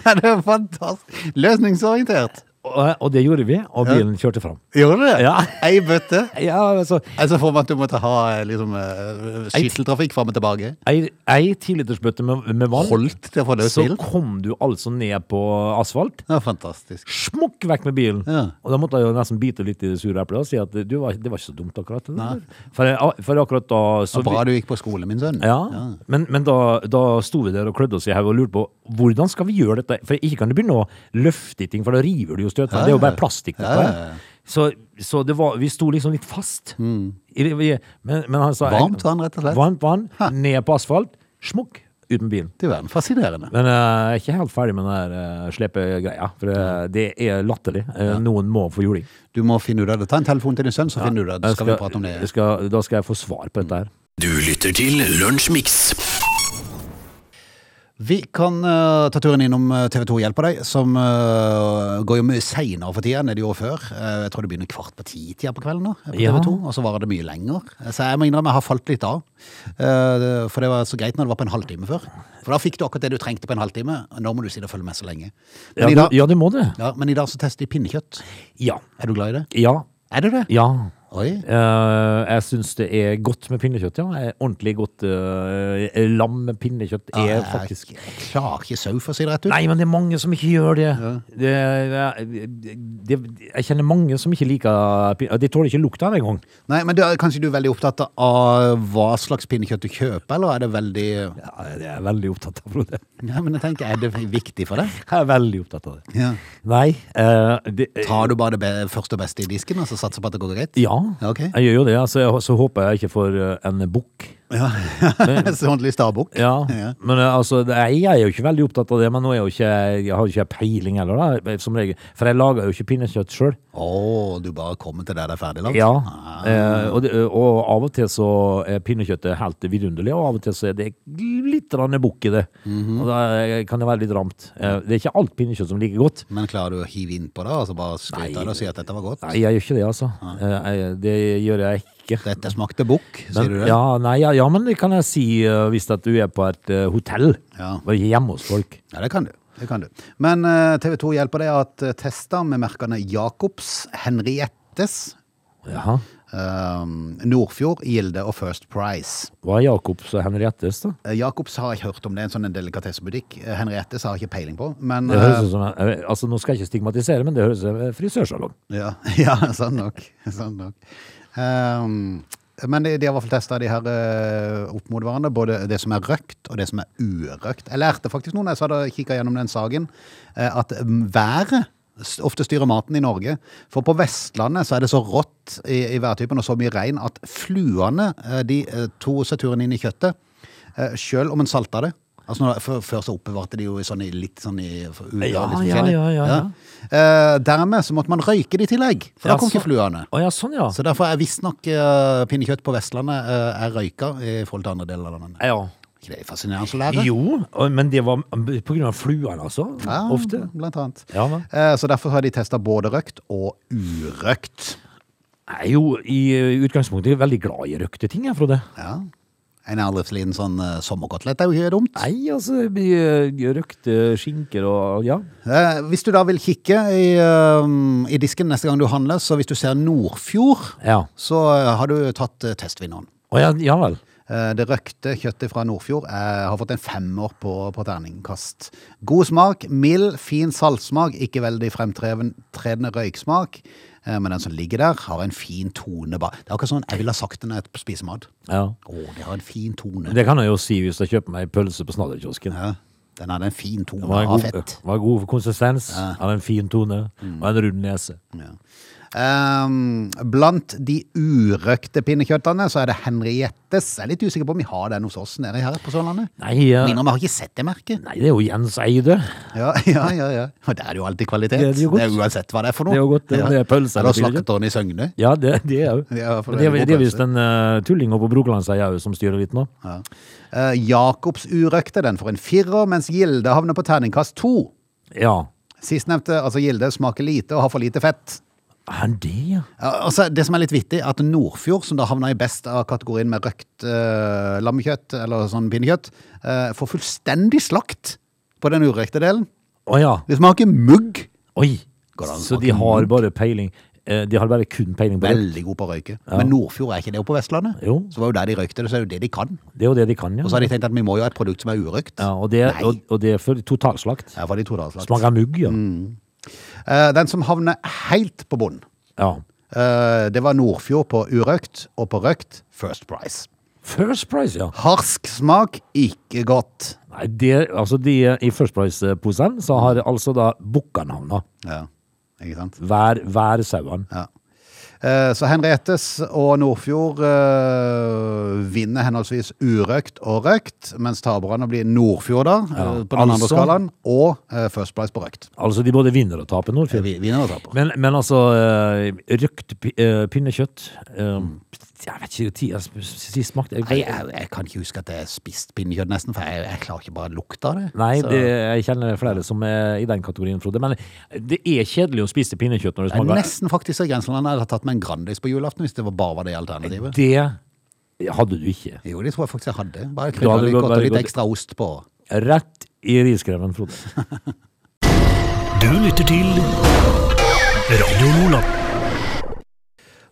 Speaker 1: Ja, det er fantastisk. Løsningsorientert.
Speaker 3: Og, og det gjorde vi, og bilen kjørte fram.
Speaker 1: Gjorde du det?
Speaker 3: Ja.
Speaker 1: Ei bøtte.
Speaker 3: Ja, altså,
Speaker 1: Altså får man at du måtte ha eh, liksom, eh, skytteltrafikk fram og tilbake.
Speaker 3: ei, ei tilitersbøtte med, med vann,
Speaker 1: Holdt til å få løs
Speaker 3: så
Speaker 1: bilen.
Speaker 3: kom du altså ned på asfalt.
Speaker 1: Ja, fantastisk.
Speaker 3: Smukk vekk med bilen!
Speaker 1: Ja.
Speaker 3: Og da måtte jeg jo nesten bite litt i det sure eplet og si at du var, det var ikke så dumt akkurat. det der. For, jeg- for akkurat da så
Speaker 1: Bra
Speaker 3: vi,
Speaker 1: du gikk på skole, min sønn.
Speaker 3: ja, Men, men da, da sto vi der og klødde oss i hodet og lurte på hvordan skal vi gjøre dette? For ikke kan du begynne å løfte i ting, for da river du jo støtet. Det er jo bare plastikk. dette
Speaker 1: Ja, ja,
Speaker 3: her.
Speaker 1: ja. Mm.
Speaker 3: Så, så det var, vi sto liksom litt fast. I det- vi- Men, men han sa
Speaker 1: Varmt vann, rett og slett.
Speaker 3: Varmt vann, ned på asfalt, smukk, ut med bilen.
Speaker 1: Du verden, fascinerende.
Speaker 3: Men eh, jeg er ikke helt ferdig med den der eh, slepegreia, for eh, det er latterlig. Eh, Noen må få juling.
Speaker 1: Du må finne ut av det. Ta en telefon til din sønn, så finner du det. Da skal vi prate om det. Mm.
Speaker 3: Jeg skal, da skal jeg få svar på dette her.
Speaker 2: Du lytter til Lunsjmix.
Speaker 1: Vi kan eh, ta turen innom TV 2 Hjelper deg, som eh, går jo mye seinere for tida enn det de gjorde før. Eh, jeg tror det begynner kvart på ti-tida på kvelden nå, eh, på
Speaker 3: Ja.
Speaker 1: TV 2, og så varer det mye lenger. Eh, Så jeg må innrømme jeg har falt litt av. Eh, det- for det var så greit når det var på en halvtime før. For da fikk du akkurat det du trengte på en halvtime. Nå må du si det følger med så lenge. Men,
Speaker 3: Ja,
Speaker 1: i
Speaker 3: du,
Speaker 1: dag,
Speaker 3: ja, du må det.
Speaker 1: ja, men i dag så tester de pinnekjøtt.
Speaker 3: Ja.
Speaker 1: Er du glad i det?
Speaker 3: Ja.
Speaker 1: Er du det?
Speaker 3: Ja.
Speaker 1: Oi.
Speaker 3: Eh, jeg syns det er godt med pinnekjøtt, ja. Eh, Ordentlig godt eh, lam med pinnekjøtt
Speaker 1: Ja,
Speaker 3: er
Speaker 1: jeg-
Speaker 3: faktisk
Speaker 1: Jeg klarer ikke sau, for å si det rett ut.
Speaker 3: Nei, men det er mange som ikke gjør det. det, det, det jeg kjenner mange som ikke liker pin- De tåler ikke lukta av det engang.
Speaker 1: Nei, men du, er- Kanskje du er veldig opptatt av hva slags pinnekjøtt du kjøper, eller er det veldig
Speaker 3: Ja, det er jeg veldig opptatt av, Frode.
Speaker 1: Nei, men jeg tenker, Er det viktig for deg?
Speaker 3: Jeg er veldig opptatt av det.
Speaker 1: Ja.
Speaker 3: Nei eh, det,
Speaker 1: Tar du bare det be første og beste i disken og så satser på at det går greit?
Speaker 3: Ja,
Speaker 1: Ja, ok.
Speaker 3: jeg gjør jo det. Altså, jeg, så håper jeg ikke får eh, en bukk.
Speaker 1: Ja. *laughs* så ordentlig stabukk?
Speaker 3: Ja,
Speaker 1: Ja.
Speaker 3: men eh, altså, det- jeg er jo ikke veldig opptatt av det, men nå er jo ikke, jeg har jo ikke peiling heller, da, eh, som regel. For jeg lager jo ikke pinnekjøtt sjøl.
Speaker 1: Å, du bare kommer til der det er ferdig Ah. lagd?
Speaker 3: Ja. Eh, og, det, og av og til så er pinnekjøttet helt vidunderlig, og av og til så er det litt grann bukk i det.
Speaker 1: Mhm.
Speaker 3: Og da kan det være litt ramt. Eh, det er ikke alt pinnekjøtt som liker godt.
Speaker 1: Men klarer du å hive innpå det og så bare skryte av det og si at dette var godt?
Speaker 3: Nei, jeg gjør ikke det, altså. Eh, jeg, det gjør jeg ikke.
Speaker 1: Dette smakte bukk, sier du det?
Speaker 3: Ja, nei, ja, ja, men det kan jeg si eh, hvis at du er på et eh, hotell.
Speaker 1: Ja.
Speaker 3: Og ikke hjemme hos folk.
Speaker 1: Ja, det kan du. Det kan du. Men TV 2 hjelper deg at eh, tester med merkene Jacobs, Henriettes,
Speaker 3: Jaha.
Speaker 1: eh, Nordfjord, Gilde og First Price.
Speaker 3: Hva er Jacobs og Henriettes, da?
Speaker 1: Eh, Jacobs har jeg hørt om, det er en sånn en delikatessebutikk. Eh, Henriettes har jeg ikke peiling på, men
Speaker 3: Det
Speaker 1: eh,
Speaker 3: høres ut som, eh, altså, nå skal jeg ikke stigmatisere, men det høres ut som en frisørsalong.
Speaker 1: ja, *laughs* ja, sant nok. Sant nok. Ehm, men de, de har i hvert fall testa de her eh, opp mot hverandre, både det som er røkt og det som er urøkt. Jeg lærte faktisk noe når jeg satt og kikka gjennom den saken, eh, at mm, været s- ofte styrer maten i Norge. For på Vestlandet så er det så rått i, i værtypen og så mye regn at fluene eh, de eh, tok seg turen inn i kjøttet, eh, sjøl om en salta det. Altså når, for, før så oppbevarte de jo i sånn i, litt sånn i for- urør,
Speaker 3: Ja,
Speaker 1: litt
Speaker 3: ja,
Speaker 1: forskjellig.
Speaker 3: ja, ja, ja.
Speaker 1: Eh, dermed så måtte man røyke det i tillegg, for da
Speaker 3: Ja,
Speaker 1: kom ikke
Speaker 3: så-
Speaker 1: fluene.
Speaker 3: Å ja, sånn ja.
Speaker 1: Så derfor er visstnok uh, pinnekjøtt på Vestlandet eh, er røyka i forhold til andre deler av landet.
Speaker 3: ja.
Speaker 1: Ikke det er fascinerende å lære?
Speaker 3: Jo, og- men det var på grunn av fluene, altså.
Speaker 1: Ja,
Speaker 3: Ofte.
Speaker 1: Blant annet.
Speaker 3: Ja, hva?
Speaker 1: Eh, så derfor har de testa både røkt og urøkt.
Speaker 3: Jeg er jo i eh, utgangspunktet veldig glad i røkte ting, jeg, Frode.
Speaker 1: Ja. En ærlighetsliten sånn eh, sommerkotelett er jo ikke dumt.
Speaker 3: Nei, altså, det blir, eh, røkte skinker og ja.
Speaker 1: Eh, hvis du da vil kikke i, eh, i disken neste gang du handler, så hvis du ser Nordfjord,
Speaker 3: Ja,
Speaker 1: så eh, har du tatt eh, testvinneren.
Speaker 3: Å, ja, ja vel.
Speaker 1: Eh, Det røkte kjøttet fra Nordfjord eh, har fått en femmer på, på terningkast. God smak, mild, fin saltsmak, ikke veldig fremtredende røyksmak. eh, Men den som ligger der, har en fin tone. ba- Det er akkurat sånn jeg ville ha sagt det når jeg spiser mat.
Speaker 3: Ja.
Speaker 1: Å, det har en fin tone.
Speaker 3: Det kan jeg jo si hvis jeg kjøper meg en pølse på snadderkiosken.
Speaker 1: Ja, den hadde en fin tone
Speaker 3: Det var en
Speaker 1: av
Speaker 3: god,
Speaker 1: fett.
Speaker 3: var god konsistens, hadde en fin tone og en rund nese.
Speaker 1: Ja. Ehm, blant de urøkte pinnekjøttene så er det Henriettes. Jeg er litt usikker på om vi har den hos oss nede her på Sørlandet.
Speaker 3: Nei, eh,
Speaker 1: Minner om jeg har ikke sett det merket.
Speaker 3: nei, det er jo Jens Eide.
Speaker 1: Ja, ja, ja, ja. Og der er det jo alltid kvalitet.
Speaker 3: Det er det jo godt.
Speaker 1: uansett hva det er for noe.
Speaker 3: Det er jo godt, det- det er pølse eller
Speaker 1: Eller
Speaker 3: billig.
Speaker 1: slaktetårn i Søgne.
Speaker 3: Ja, det, *laughs* det er jo.
Speaker 1: Det er i hvert fall
Speaker 3: Men det,
Speaker 1: veldig
Speaker 3: er-
Speaker 1: god
Speaker 3: det er
Speaker 1: pølse.
Speaker 3: visst en uh, tulling oppe på Brokelandseia òg som styrer litt nå.
Speaker 1: Ja. Eh, Jakobs urøkte, den får en firer, mens Gilde havner på terningkast to.
Speaker 3: Ja.
Speaker 1: Sistnevnte, altså Gilde, smaker lite og har for lite fett.
Speaker 3: Er det, ja?
Speaker 1: Ja, Altså, det som er litt vittig, er at Nordfjord, som da havna i best av kategorien med røkt eh, lammekjøtt, eller sånn pinnekjøtt, eh, får fullstendig slakt på den urøkte delen.
Speaker 3: Å ja.
Speaker 1: Det smaker mugg.
Speaker 3: Oi!
Speaker 1: Går det an å
Speaker 3: Så
Speaker 1: smake
Speaker 3: de har bare peiling eh, De har bare kun peiling på det.
Speaker 1: Veldig god på å røyke. Men Nordfjord er ikke det oppe på Vestlandet.
Speaker 3: Jo.
Speaker 1: Så var jo der de røykte det, så er det jo det de kan.
Speaker 3: Det er jo det de kan, ja.
Speaker 1: Og så har de tenkt at vi må jo ha et produkt som er urøkt.
Speaker 3: ja og, det,
Speaker 1: Nei.
Speaker 3: og, og det er for totalslakt.
Speaker 1: Ja, for de to da, slags.
Speaker 3: Smaker mugg, ja.
Speaker 1: Mm. Eh, Den som havner helt på bunnen,
Speaker 3: ja.
Speaker 1: eh, det var Nordfjord på urøkt og på røkt First Price.
Speaker 3: First Price, ja.
Speaker 1: Harsk smak, ikke godt.
Speaker 3: Nei, det, altså de I First Price-posen så har altså da Bukkanhavna
Speaker 1: Ja, ikke sant?
Speaker 3: hver, hver sauen.
Speaker 1: Ja. Eh, Så Henriettes og Nordfjord eh, vinner henholdsvis urøkt og røkt, mens taperne blir Nordfjord da, eh, på den andre
Speaker 3: altså-
Speaker 1: skalaen, og eh, First Price på røkt.
Speaker 3: Altså de både vinner og taper
Speaker 1: Vi-
Speaker 3: Nordfjord.
Speaker 1: Vinner og taper.
Speaker 3: Men, men altså, eh, røkt pi- eh, pinnekjøtt eh, Jeg vet ikke altså, når jeg sp- sist smakte
Speaker 1: Nei,
Speaker 3: jeg-
Speaker 1: jeg, jeg kan ikke huske at jeg har spist pinnekjøtt nesten, for jeg, jeg klarer ikke bare lukta av det.
Speaker 3: Nei,
Speaker 1: Så
Speaker 3: det, jeg kjenner flere som er i den kategorien, Frode. Men det er kjedelig å spise pinnekjøtt når det
Speaker 1: det er
Speaker 3: smaker
Speaker 1: nesten faktisk så i grenselandet jeg hadde tatt meg en Grandis på julaften hvis det var bare var det alternativet.
Speaker 3: Det hadde du ikke.
Speaker 1: Jo, det tror jeg faktisk jeg hadde. Bare
Speaker 3: Da
Speaker 1: krydra
Speaker 3: hadde det
Speaker 1: litt
Speaker 3: gått
Speaker 1: godt og
Speaker 3: veldig
Speaker 1: litt
Speaker 3: godt.
Speaker 1: ekstra ost på.
Speaker 3: Rett i riskreven, Frode.
Speaker 2: Du lytter til Radio Lola.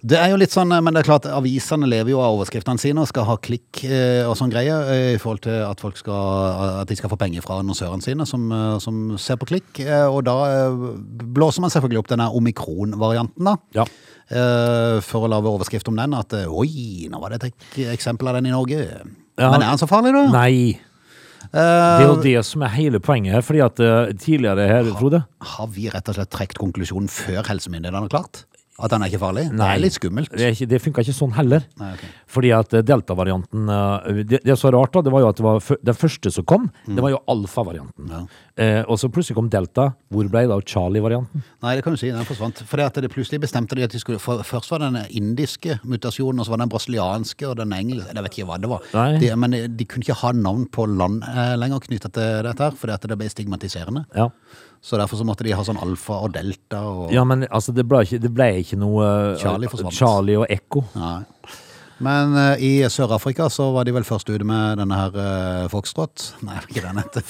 Speaker 1: Det er jo litt sånn, eh, men det er klart avisene lever jo av overskriftene sine og skal ha klikk eh, og sånn greie eh, i forhold til at folk skal, at de skal få penger fra annonsørene sine som, eh, som ser på klikk. eh, Og da eh, blåser man selvfølgelig opp denne omikron-varianten da.
Speaker 3: Ja.
Speaker 1: Eh, For å lage overskrift om den, at eh, oi, nå var det et ek- eksempel av den i Norge.
Speaker 3: Ja. Eh,
Speaker 1: Men er den så farlig da?
Speaker 3: Nei. Det er jo det som er hele poenget her, fordi at eh, tidligere her, Frode
Speaker 1: Har vi rett og slett trekt konklusjonen før helsemyndighetene har klart? At den er ikke farlig? Det er litt skummelt.
Speaker 3: Det, er ikke, det funka ikke sånn heller.
Speaker 1: Nei, ok.
Speaker 3: Fordi at eh, delta-varianten eh, det, det er så rart, da. Det var jo at det var fø- den første som kom, det
Speaker 1: Mm.
Speaker 3: var jo alfa-varianten. Eh, og så plutselig kom delta. Hvor ble det av Charlie-varianten?
Speaker 1: Nei, det kan du si. Den forsvant. For det at det plutselig bestemte de at de skulle for, Først var det den indiske mutasjonen, og så var det den brasilianske og den engelske Jeg vet ikke hva det var.
Speaker 3: Nei.
Speaker 1: De, men de- de kunne ikke ha navn på land eh, lenger knytta til dette, her, fordi at det ble stigmatiserende.
Speaker 3: Ja.
Speaker 1: Så derfor så måtte de ha sånn alfa og delta og
Speaker 3: ja, men altså, det ble ikke, det ble ikke noe eh,
Speaker 1: Charlie forsvant.
Speaker 3: Charlie og Ekko.
Speaker 1: Nei. Men eh, i Sør-Afrika så var de vel først ute med denne her eh, foxtrot. *laughs* Nei, ikke den heter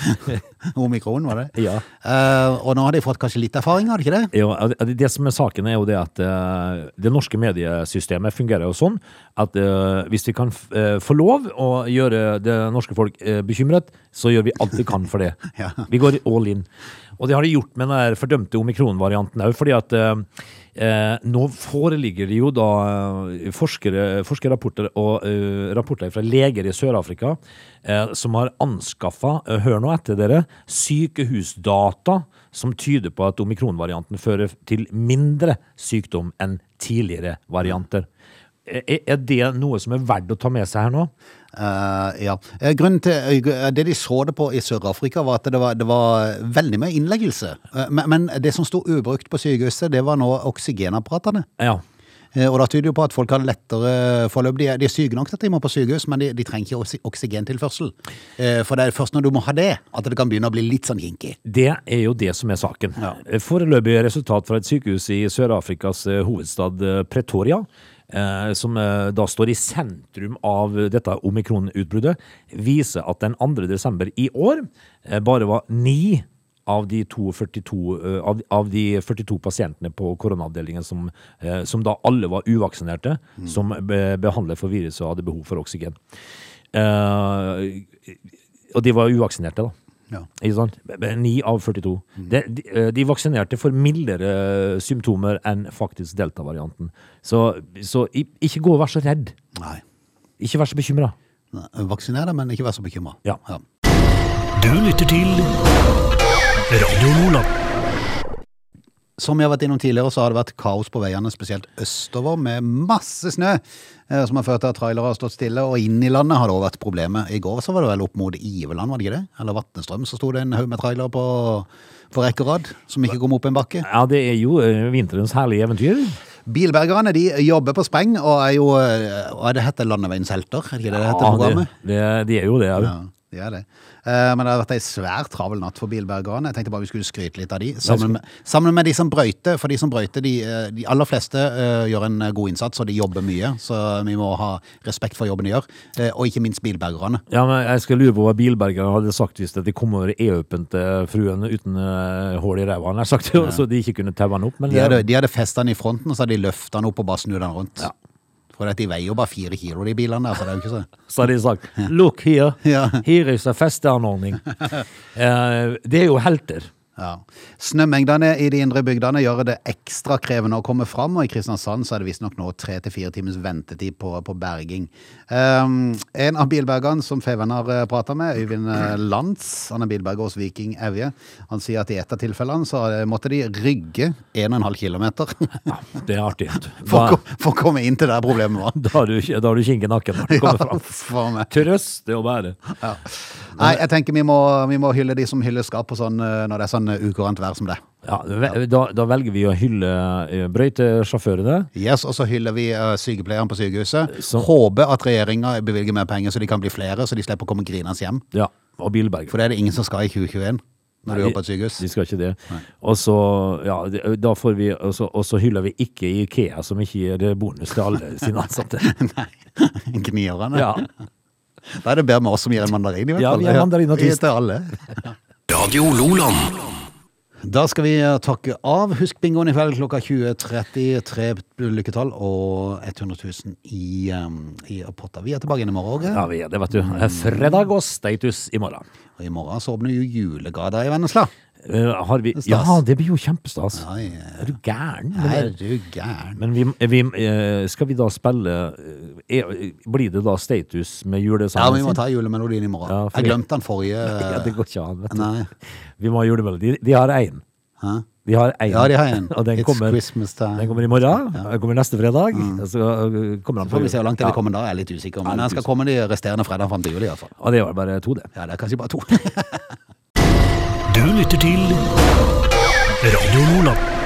Speaker 1: *laughs* Omikron, var det?
Speaker 3: Ja.
Speaker 1: Eh, og nå har de fått kanskje litt erfaring, har de ikke det?
Speaker 3: Jo, det, det som er saken er jo det at eh, det norske mediesystemet fungerer jo sånn at eh, hvis vi kan f eh, få lov å gjøre det norske folk eh, bekymret, så gjør vi alt vi kan for det.
Speaker 1: *laughs* Ja.
Speaker 3: Vi går all in. Og det har de gjort med den der fordømte omikron-varianten òg, fordi at eh, eh, nå foreligger det jo da eh, forskere, forskerrapporter og eh, rapporter fra leger i Sør-Afrika eh, som har anskaffa, eh, hør nå etter dere, sykehusdata som tyder på at omikron-varianten fører til mindre sykdom enn tidligere varianter. Eh, Er er det noe som er verdt å ta med seg her nå?
Speaker 1: Eh, ja. Eh, Grunnen til eh, Det de så det på i Sør-Afrika, var at det var, det var veldig mye innleggelse. Eh, Men, men det som sto ubrukt på sykehuset, det var nå oksygenapparatene.
Speaker 3: Ja.
Speaker 1: Eh, Og da tyder jo på at folk har lettere forløp. De er, de er syke nok til at de må på sykehus, men de, de trenger ikke oksy- oksygentilførsel. Eh, For det er først når du må ha det, at det kan begynne å bli litt sånn kinkig.
Speaker 3: Det er jo det som er saken.
Speaker 1: Ja.
Speaker 3: Foreløpig resultat fra et sykehus i Sør-Afrikas eh, hovedstad eh, Pretoria, eh, som eh, da står i sentrum av eh, dette omikron-utbruddet, viser at den 2. desember i år eh, bare var ni av de, 42, eh, av, av de 42 pasientene på koronaavdelingen som, eh, som da alle var uvaksinerte, som be, behandlet for viruset og hadde behov for oksygen. Eh, og de var uvaksinerte, da.
Speaker 1: Ja.
Speaker 3: Ikke sant? 9 av 42. De, de, eh, de vaksinerte for mildere eh, symptomer enn faktisk delta-varianten. Så, så i- ikke gå og vær så redd.
Speaker 1: Nei.
Speaker 3: Ikke vær så bekymra.
Speaker 1: Nei, Vaksiner deg, men ikke vær så bekymra.
Speaker 3: Ja.
Speaker 2: Du lytter til Radio Nordland.
Speaker 1: Som vi har vært innom tidligere, så har det vært kaos på veiene, spesielt østover, med masse snø, eh, som har ført til at trailere har stått stille, og inn i landet har det også vært problemet. I går så var det vel opp mot Iveland, var det ikke det? Eller Vatnestrøm, så sto det en haug med trailere på, på rekke og rad, som ikke kom opp en bakke.
Speaker 3: Ja, det er jo eh, vinterens herlige eventyr.
Speaker 1: Bilbergerne, de jobber på spreng, og er jo, eh, hva er det heter, landeveiens helter, er det ikke det det heter
Speaker 3: det,
Speaker 1: programmet?
Speaker 3: det, det er jo det.
Speaker 1: Ja, de er det. Eh, Men det har vært ei svær travel natt for bilbergerne. Jeg tenkte bare vi skulle skryte litt av de. Sammen med, sammen med de som brøyter, for de som brøyter, de, eh, de aller fleste eh, gjør en eh, god innsats, og de jobber mye, så vi må ha respekt for jobben de gjør. Eh, Og ikke minst bilbergerne.
Speaker 3: Ja, men Jeg skal lure på hva bilbergerne hadde sagt hvis de kom over e-øpen til fruen uten eh, hull i ræva, nær sagt, *laughs* så de ikke kunne taue den opp. Men
Speaker 1: De hadde, de hadde festet den i fronten, og så hadde de løftet den opp og bare snudd den rundt.
Speaker 3: Ja.
Speaker 1: For at de veier jo bare fire kilo, de bilene der, så det er jo ikke så
Speaker 3: Så hadde de sagt 'look here,
Speaker 1: Ja.
Speaker 3: here is a festeanordning'. *laughs* Eh, det er jo helter.
Speaker 1: ja. Snømengdene i de indre bygdene gjør det ekstra krevende å komme fram, og i Kristiansand så er det visstnok nå tre til fire timers ventetid på, på berging. Um, en av bilbergene som Feven har prata med, Øyvind eh, Lantz, han er bilberger hos Viking Evje, han sier at i et av tilfellene så eh, måtte de rygge 1,5 km *laughs*
Speaker 3: Ja, det er artig. vet du.
Speaker 1: for, å
Speaker 3: Da,
Speaker 1: ko- for å komme inn til der problemet var.
Speaker 3: da har du, da har du kink i nakken når du *laughs* kommer fram.
Speaker 1: for meg.
Speaker 3: Trøst det å bære.
Speaker 1: Ja. Nei, jeg tenker vi må, vi må hylle de som hyller skap og sånn eh, når det er sånn eh, ukurant vær som det.
Speaker 3: Ja, ve- da, da velger vi å hylle eh, brøytesjåførene.
Speaker 1: Yes, og så hyller vi eh, sykepleieren på sykehuset.
Speaker 3: Så-
Speaker 1: Håper at regjeringa bevilger mer penger så de kan bli flere, så de slipper å komme grinende hjem.
Speaker 3: Ja, og bilberg.
Speaker 1: For det er det ingen som skal i 2021 når du jobber på et sykehus.
Speaker 3: De skal ikke det. Og så, ja, det- da får vi, og så, og så hyller vi ikke Ikea, som ikke gir bonus til alle sine ansatte.
Speaker 1: *laughs* Nei, gnierne.
Speaker 3: Ja.
Speaker 1: Da er det bedre med oss som gir en mandarin, i hvert
Speaker 3: Ja,
Speaker 1: fall.
Speaker 3: vi gir mandarin og
Speaker 1: Vi gir
Speaker 3: twist.
Speaker 1: til alle.
Speaker 2: Radio Loland.
Speaker 1: Da skal vi eh, takke av. Husk bingoen i kveld klokka 20.30. Tre lykketall og 100 000 i, eh, i potta. Vi er tilbake igjen i morgen. Åge.
Speaker 3: Ja, vi er det, vet du. Fredag og status i morgen.
Speaker 1: Og i morgen så åpner jo julegrada i Vennesla.
Speaker 3: Eh, Har vi
Speaker 1: Stas.
Speaker 3: Ja, det blir jo kjempestas.
Speaker 1: Nei, eh,
Speaker 3: Er du gæren?
Speaker 1: er du gæren.
Speaker 3: Men vi, vi, eh, skal vi da spille eh, er, Blir det da status med
Speaker 1: Ja,
Speaker 3: julesangen?
Speaker 1: vi må
Speaker 3: sin?
Speaker 1: ta julemelodien i morgen.
Speaker 3: Ja, for-
Speaker 1: Jeg glemte den forrige.
Speaker 3: *laughs* Ja, det går ikke an, vet du.
Speaker 1: Nei.
Speaker 3: Vi må ha julemelodi. De har én.
Speaker 1: Hæ?
Speaker 3: De har én.
Speaker 1: Ja, de har en.
Speaker 3: *laughs* Og den
Speaker 1: It's
Speaker 3: kommer,
Speaker 1: Christmas time. Mm.
Speaker 3: den kommer i morgen. Den kommer neste fredag. og Så eh, kommer den
Speaker 1: Får vi se hvor langt til de
Speaker 3: Ja.
Speaker 1: kommer da, jeg er litt usikker.
Speaker 3: Jeg er
Speaker 1: Men
Speaker 3: litt
Speaker 1: jeg skal komme de resterende fredag fram til jul i hvert fall.
Speaker 3: Og det var bare to, det.
Speaker 1: Ja, det er kanskje bare to.
Speaker 2: Du lytter til Radio Nordland.